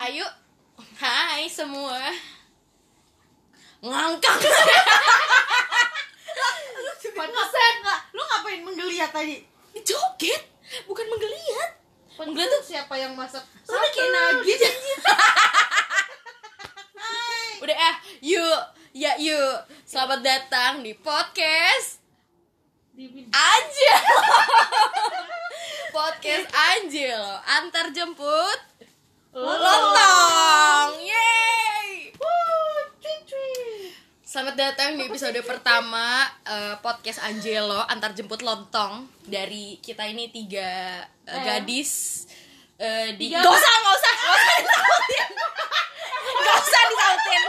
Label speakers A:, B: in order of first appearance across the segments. A: Ayu, hai semua. Ngangkang.
B: Pantesan nggak? Lu ngapain menggeliat tadi?
A: Joget, bukan menggeliat.
B: Pantesan tuh siapa yang masak?
A: Lu udah kayak nugget.
B: Iya,
A: Udah ah, yuk, ya yuk. Selamat datang di podcast Anjil. podcast Anjil, antar jemput lontong. Yeay. Selamat datang di episode pertama eh, podcast Angelo antar jemput lontong dari kita ini tiga eh,
B: Eh.
A: gadis eh, di
B: Tiga-
A: Gak usah, gak usah, gak usah disautin. Gak usah disautin.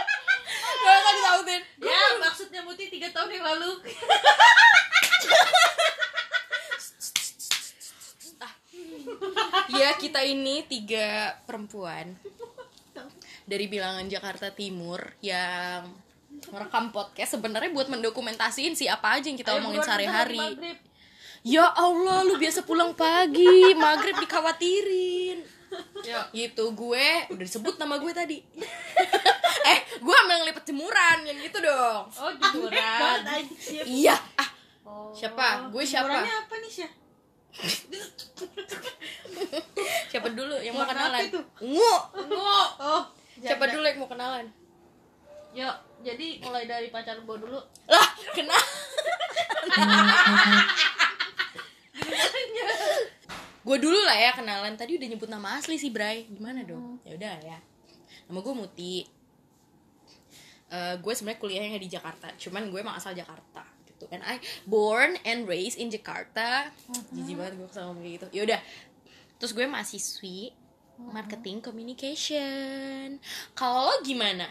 A: Gak usah disautin.
B: Ya, maksudnya Muti 3 tahun yang lalu.
A: Ya, kita ini tiga perempuan dari bilangan Jakarta Timur yang merekam podcast sebenarnya buat mendokumentasiin sih apa aja yang kita omongin sehari-hari. Ya Allah, lu biasa pulang pagi, maghrib dikhawatirin.
B: Ya.
A: Gitu gue udah disebut nama gue tadi. eh, gue ambil ngelipet jemuran yang gitu dong.
B: Oh,
A: Jemuran.
B: jemuran.
A: Iya. Ah, siapa? Gue siapa?
B: Jemurannya apa nih, Syah?
A: Siapa dulu yang mau
B: Warna apa
A: kenalan?
B: itu?
A: Ungu.
B: Enggak. Oh,
A: Siapa dulu yang mau kenalan?
B: Yuk, jadi mulai dari pacar gua dulu.
A: Lah, kenal. gue dulu lah ya kenalan. Tadi udah nyebut nama asli sih, Bray. Gimana dong? Ya udah ya. Nama gue Muti. Eh, gue sebenarnya kuliahnya nggak di Jakarta, cuman gue emang asal Jakarta gitu. And I born and raised in Jakarta. Jijik banget gue sama kayak gitu. Ya udah. Terus gue mahasiswi marketing communication. Kalau lo gimana?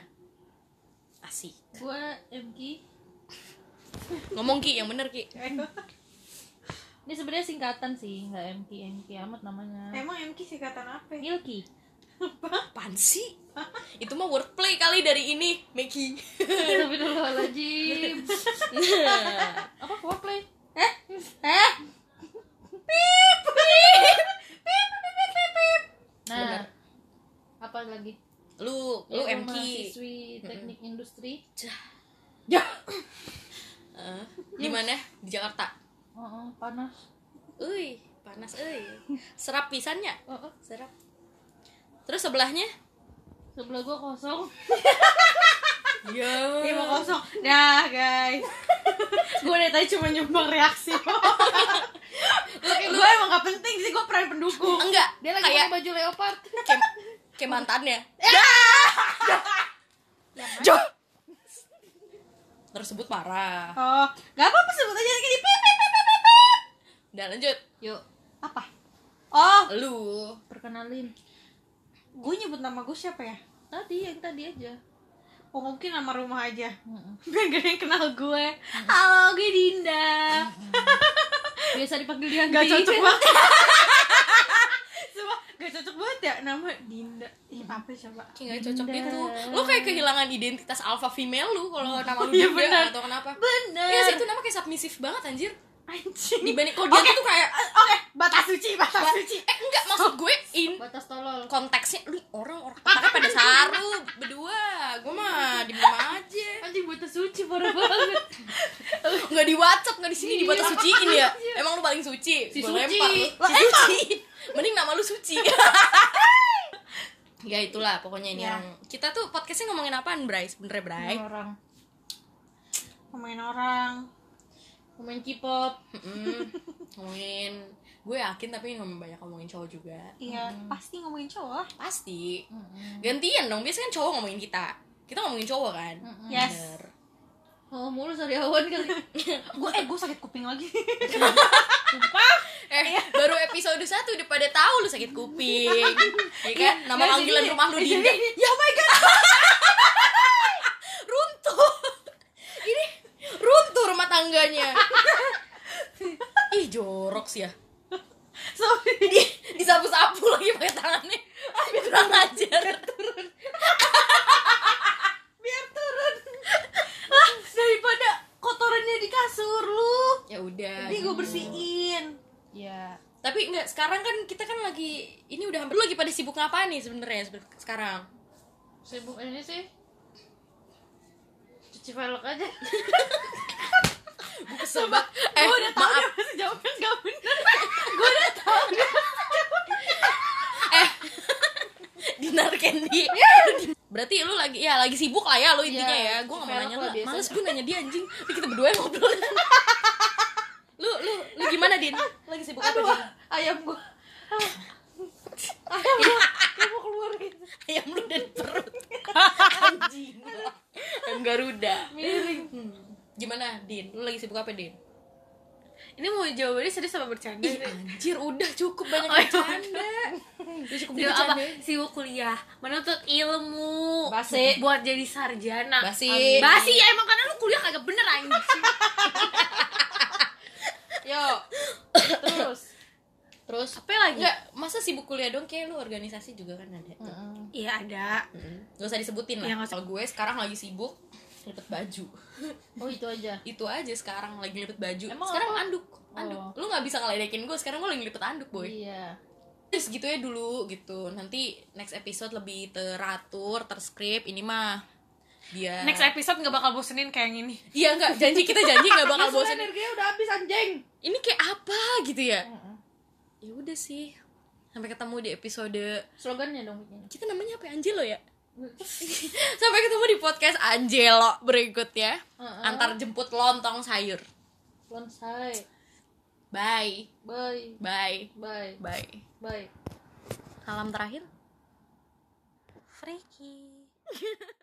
A: Asik.
B: Gua MG.
A: Ngomong Ki, yang bener Ki.
B: Ini sebenarnya singkatan sih, nggak MG, MG amat namanya.
C: Emang MK singkatan apa? ya?
B: Ilki.
A: Apaan sih? Itu mah wordplay kali dari ini, Meki.
B: Tapi dulu lagi. Apa cosplay? Eh? Eh? Nah,
A: Bener.
B: apa lagi?
A: lu, lu
B: Ya,
A: MK.
B: Mahasiswi teknik industri.
A: Ya. Eh, di mana? Di Jakarta.
B: Oh, oh, panas.
A: Uy, panas euy. Serap pisannya.
B: Oh, oh.
A: Serap. Terus sebelahnya?
B: Sebelah gua kosong.
A: Ya.
C: Iya mau kosong. Dah guys. gue dari tadi cuma nyumbang reaksi. gue emang gak penting sih gue peran pendukung.
A: Enggak,
B: Dia lagi
A: kayak
B: pakai baju leopard.
A: kayak, kayak mantannya. Ya.
B: Ya,
A: Jo. Tersebut parah.
C: Oh, gak apa-apa sebut aja lagi di pip pip pip pip, pip.
A: Dan lanjut.
B: Yuk,
C: Apa? Oh,
A: Lu
B: perkenalin.
C: gue nyebut nama gue siapa ya?
B: Tadi yang tadi aja.
C: Oh mungkin nama rumah aja.
B: Mm-mm.
C: Biar gak ada yang kenal gue. Halo, gue Dinda.
B: Biasa dipanggil Dianti.
C: Gak cocok banget. Sumpah, gak cocok banget ya nama Dinda. Ih, apa ya, siapa?
A: kayak gak cocok
B: Bener.
A: gitu lo kayak kehilangan identitas alpha female lu kalau nama lu
C: Iya,
A: Dinda
C: benar.
A: atau kenapa
C: Bener.
A: Iya sih itu nama kayak submisif banget anjir
C: Anjing.
A: dibanding kalau dia
C: Oke.
A: tuh kayak
C: Eh, Oke, batas suci, batas suci.
A: eh enggak maksud gue in
B: Batas tolol.
A: konteksnya lu orang orang otaknya pada saru berdua gue mah di mana aja
B: Anjing buta suci parah banget.
A: nggak di WhatsApp nggak di sini di batas suciin ya emang lu paling suci
B: Si
A: Gua
B: suci.
A: lempar lu.
B: Lah,
C: eh,
A: si suci mending nama lu suci ya itulah pokoknya ini
C: Ya.
A: orang kita tuh podcastnya ngomongin apaan Bray sebenernya Bray
B: Orang
C: Ngomongin orang.
B: pemain K-pop.
A: Mm-mm. Hmm, ngomongin gue yakin tapi ngomong banyak ngomongin cowok juga
C: Iya, pasti ngomongin cowok lah.
A: pasti
B: Mm-mm.
A: gantian dong biasanya kan cowok ngomongin kita kita ngomongin cowok kan
B: Mm-mm.
C: Yes.
A: Bener.
B: Oh, mulu sariawan kali.
C: Gue eh gue sakit kuping lagi.
B: Sumpah.
A: eh
C: Iya.
A: baru episode satu udah pada tahu lu sakit kuping ya kan nama
C: Nggak,
A: panggilan
C: jadi-
A: rumah lu
C: jadi-
A: Dinda ya oh my god runtuh ini runtuh rumah tangganya ih jorok sih ya
C: Sorry.
A: di disapu-sapu lagi pakai tangannya kurang ajar
C: Biar turun. Lah, daripada kotorannya di kasur lu.
A: ya udah
C: Ini gue bersihin.
B: Ya.
A: tapi enggak sekarang kan kita kan lagi ini udah hampir lu lagi pada sibuk ngapain nih sebenarnya sebe- sekarang?
B: Sibuk ini sih. Cuci velg aja.
A: Gue kesel banget. Eh, maaf.
C: Pasti jawabnya nggak bener.
A: Eh. Dinar Candy. Berarti lu lagi ya lagi sibuk lah ya lu intinya
B: Iya,
A: ya. Gue gak mau
B: supaya
A: nanya
B: aku
A: lu.
B: lah biasanya.
A: Males gue nanya dia anjing. Nanti kita berdua yang ngobrol. lu lu lu gimana, Din? Ah, Lagi sibuk
B: Aduh,
A: apa, Din?
B: ayam gua. Ah. Ayam gua, gua mau keluar gitu.
A: Ayam lu dan perut. anjing. Ayam Garuda.
B: Miring.
A: Gimana, Din? Lu lagi sibuk apa, Din?
C: Ini mau jawabannya serius apa bercanda?
A: Ih, anjir, udah cukup banyak
C: Oh, iya,
A: bercanda. Udah cukup
C: Dia apa?
A: bercanda.
C: Sibuk kuliah, menuntut ilmu.
B: Basi.
C: Buat jadi sarjana.
A: Basi.
C: Amin. Basi ya emang karena lu kuliah kagak bener anjing.
B: Yo. Terus.
A: Terus
C: Apa lagi?
A: Enggak, masa sibuk kuliah dong kayak lu organisasi juga kan ada. tuh.
C: Iya ada.
A: Mm-mm. Gak usah disebutin lah.
C: Iya, gak usah.
A: Kalau gue sekarang lagi sibuk lipet baju.
B: Oh, itu aja.
A: Itu aja sekarang lagi lipet baju.
B: Emang
A: sekarang
B: apa?
A: anduk. Anduk.
B: Oh.
A: Lu nggak bisa ngeledekin gue, sekarang gue lagi lipet anduk, boy.
B: Iya.
A: Terus gitu ya dulu gitu. Nanti next episode lebih teratur, terskrip. Ini mah dia
C: Next episode nggak bakal bosenin kayak yang ini.
A: Iya enggak, janji kita janji nggak bakal bosan.
B: energinya udah habis anjing.
A: Ini kayak apa gitu ya? Ya udah sih. Sampai ketemu di episode
B: Slogannya dong bikin.
A: kita namanya apa ya? Anjelo ya sampai ketemu di podcast Angelo berikutnya
B: Heeh.
A: antar jemput lontong sayur
B: Bonsai.
A: bye
B: Bye.
A: bye
B: Bye.
A: bye
B: Bye.
A: salam terakhir
C: Freaky.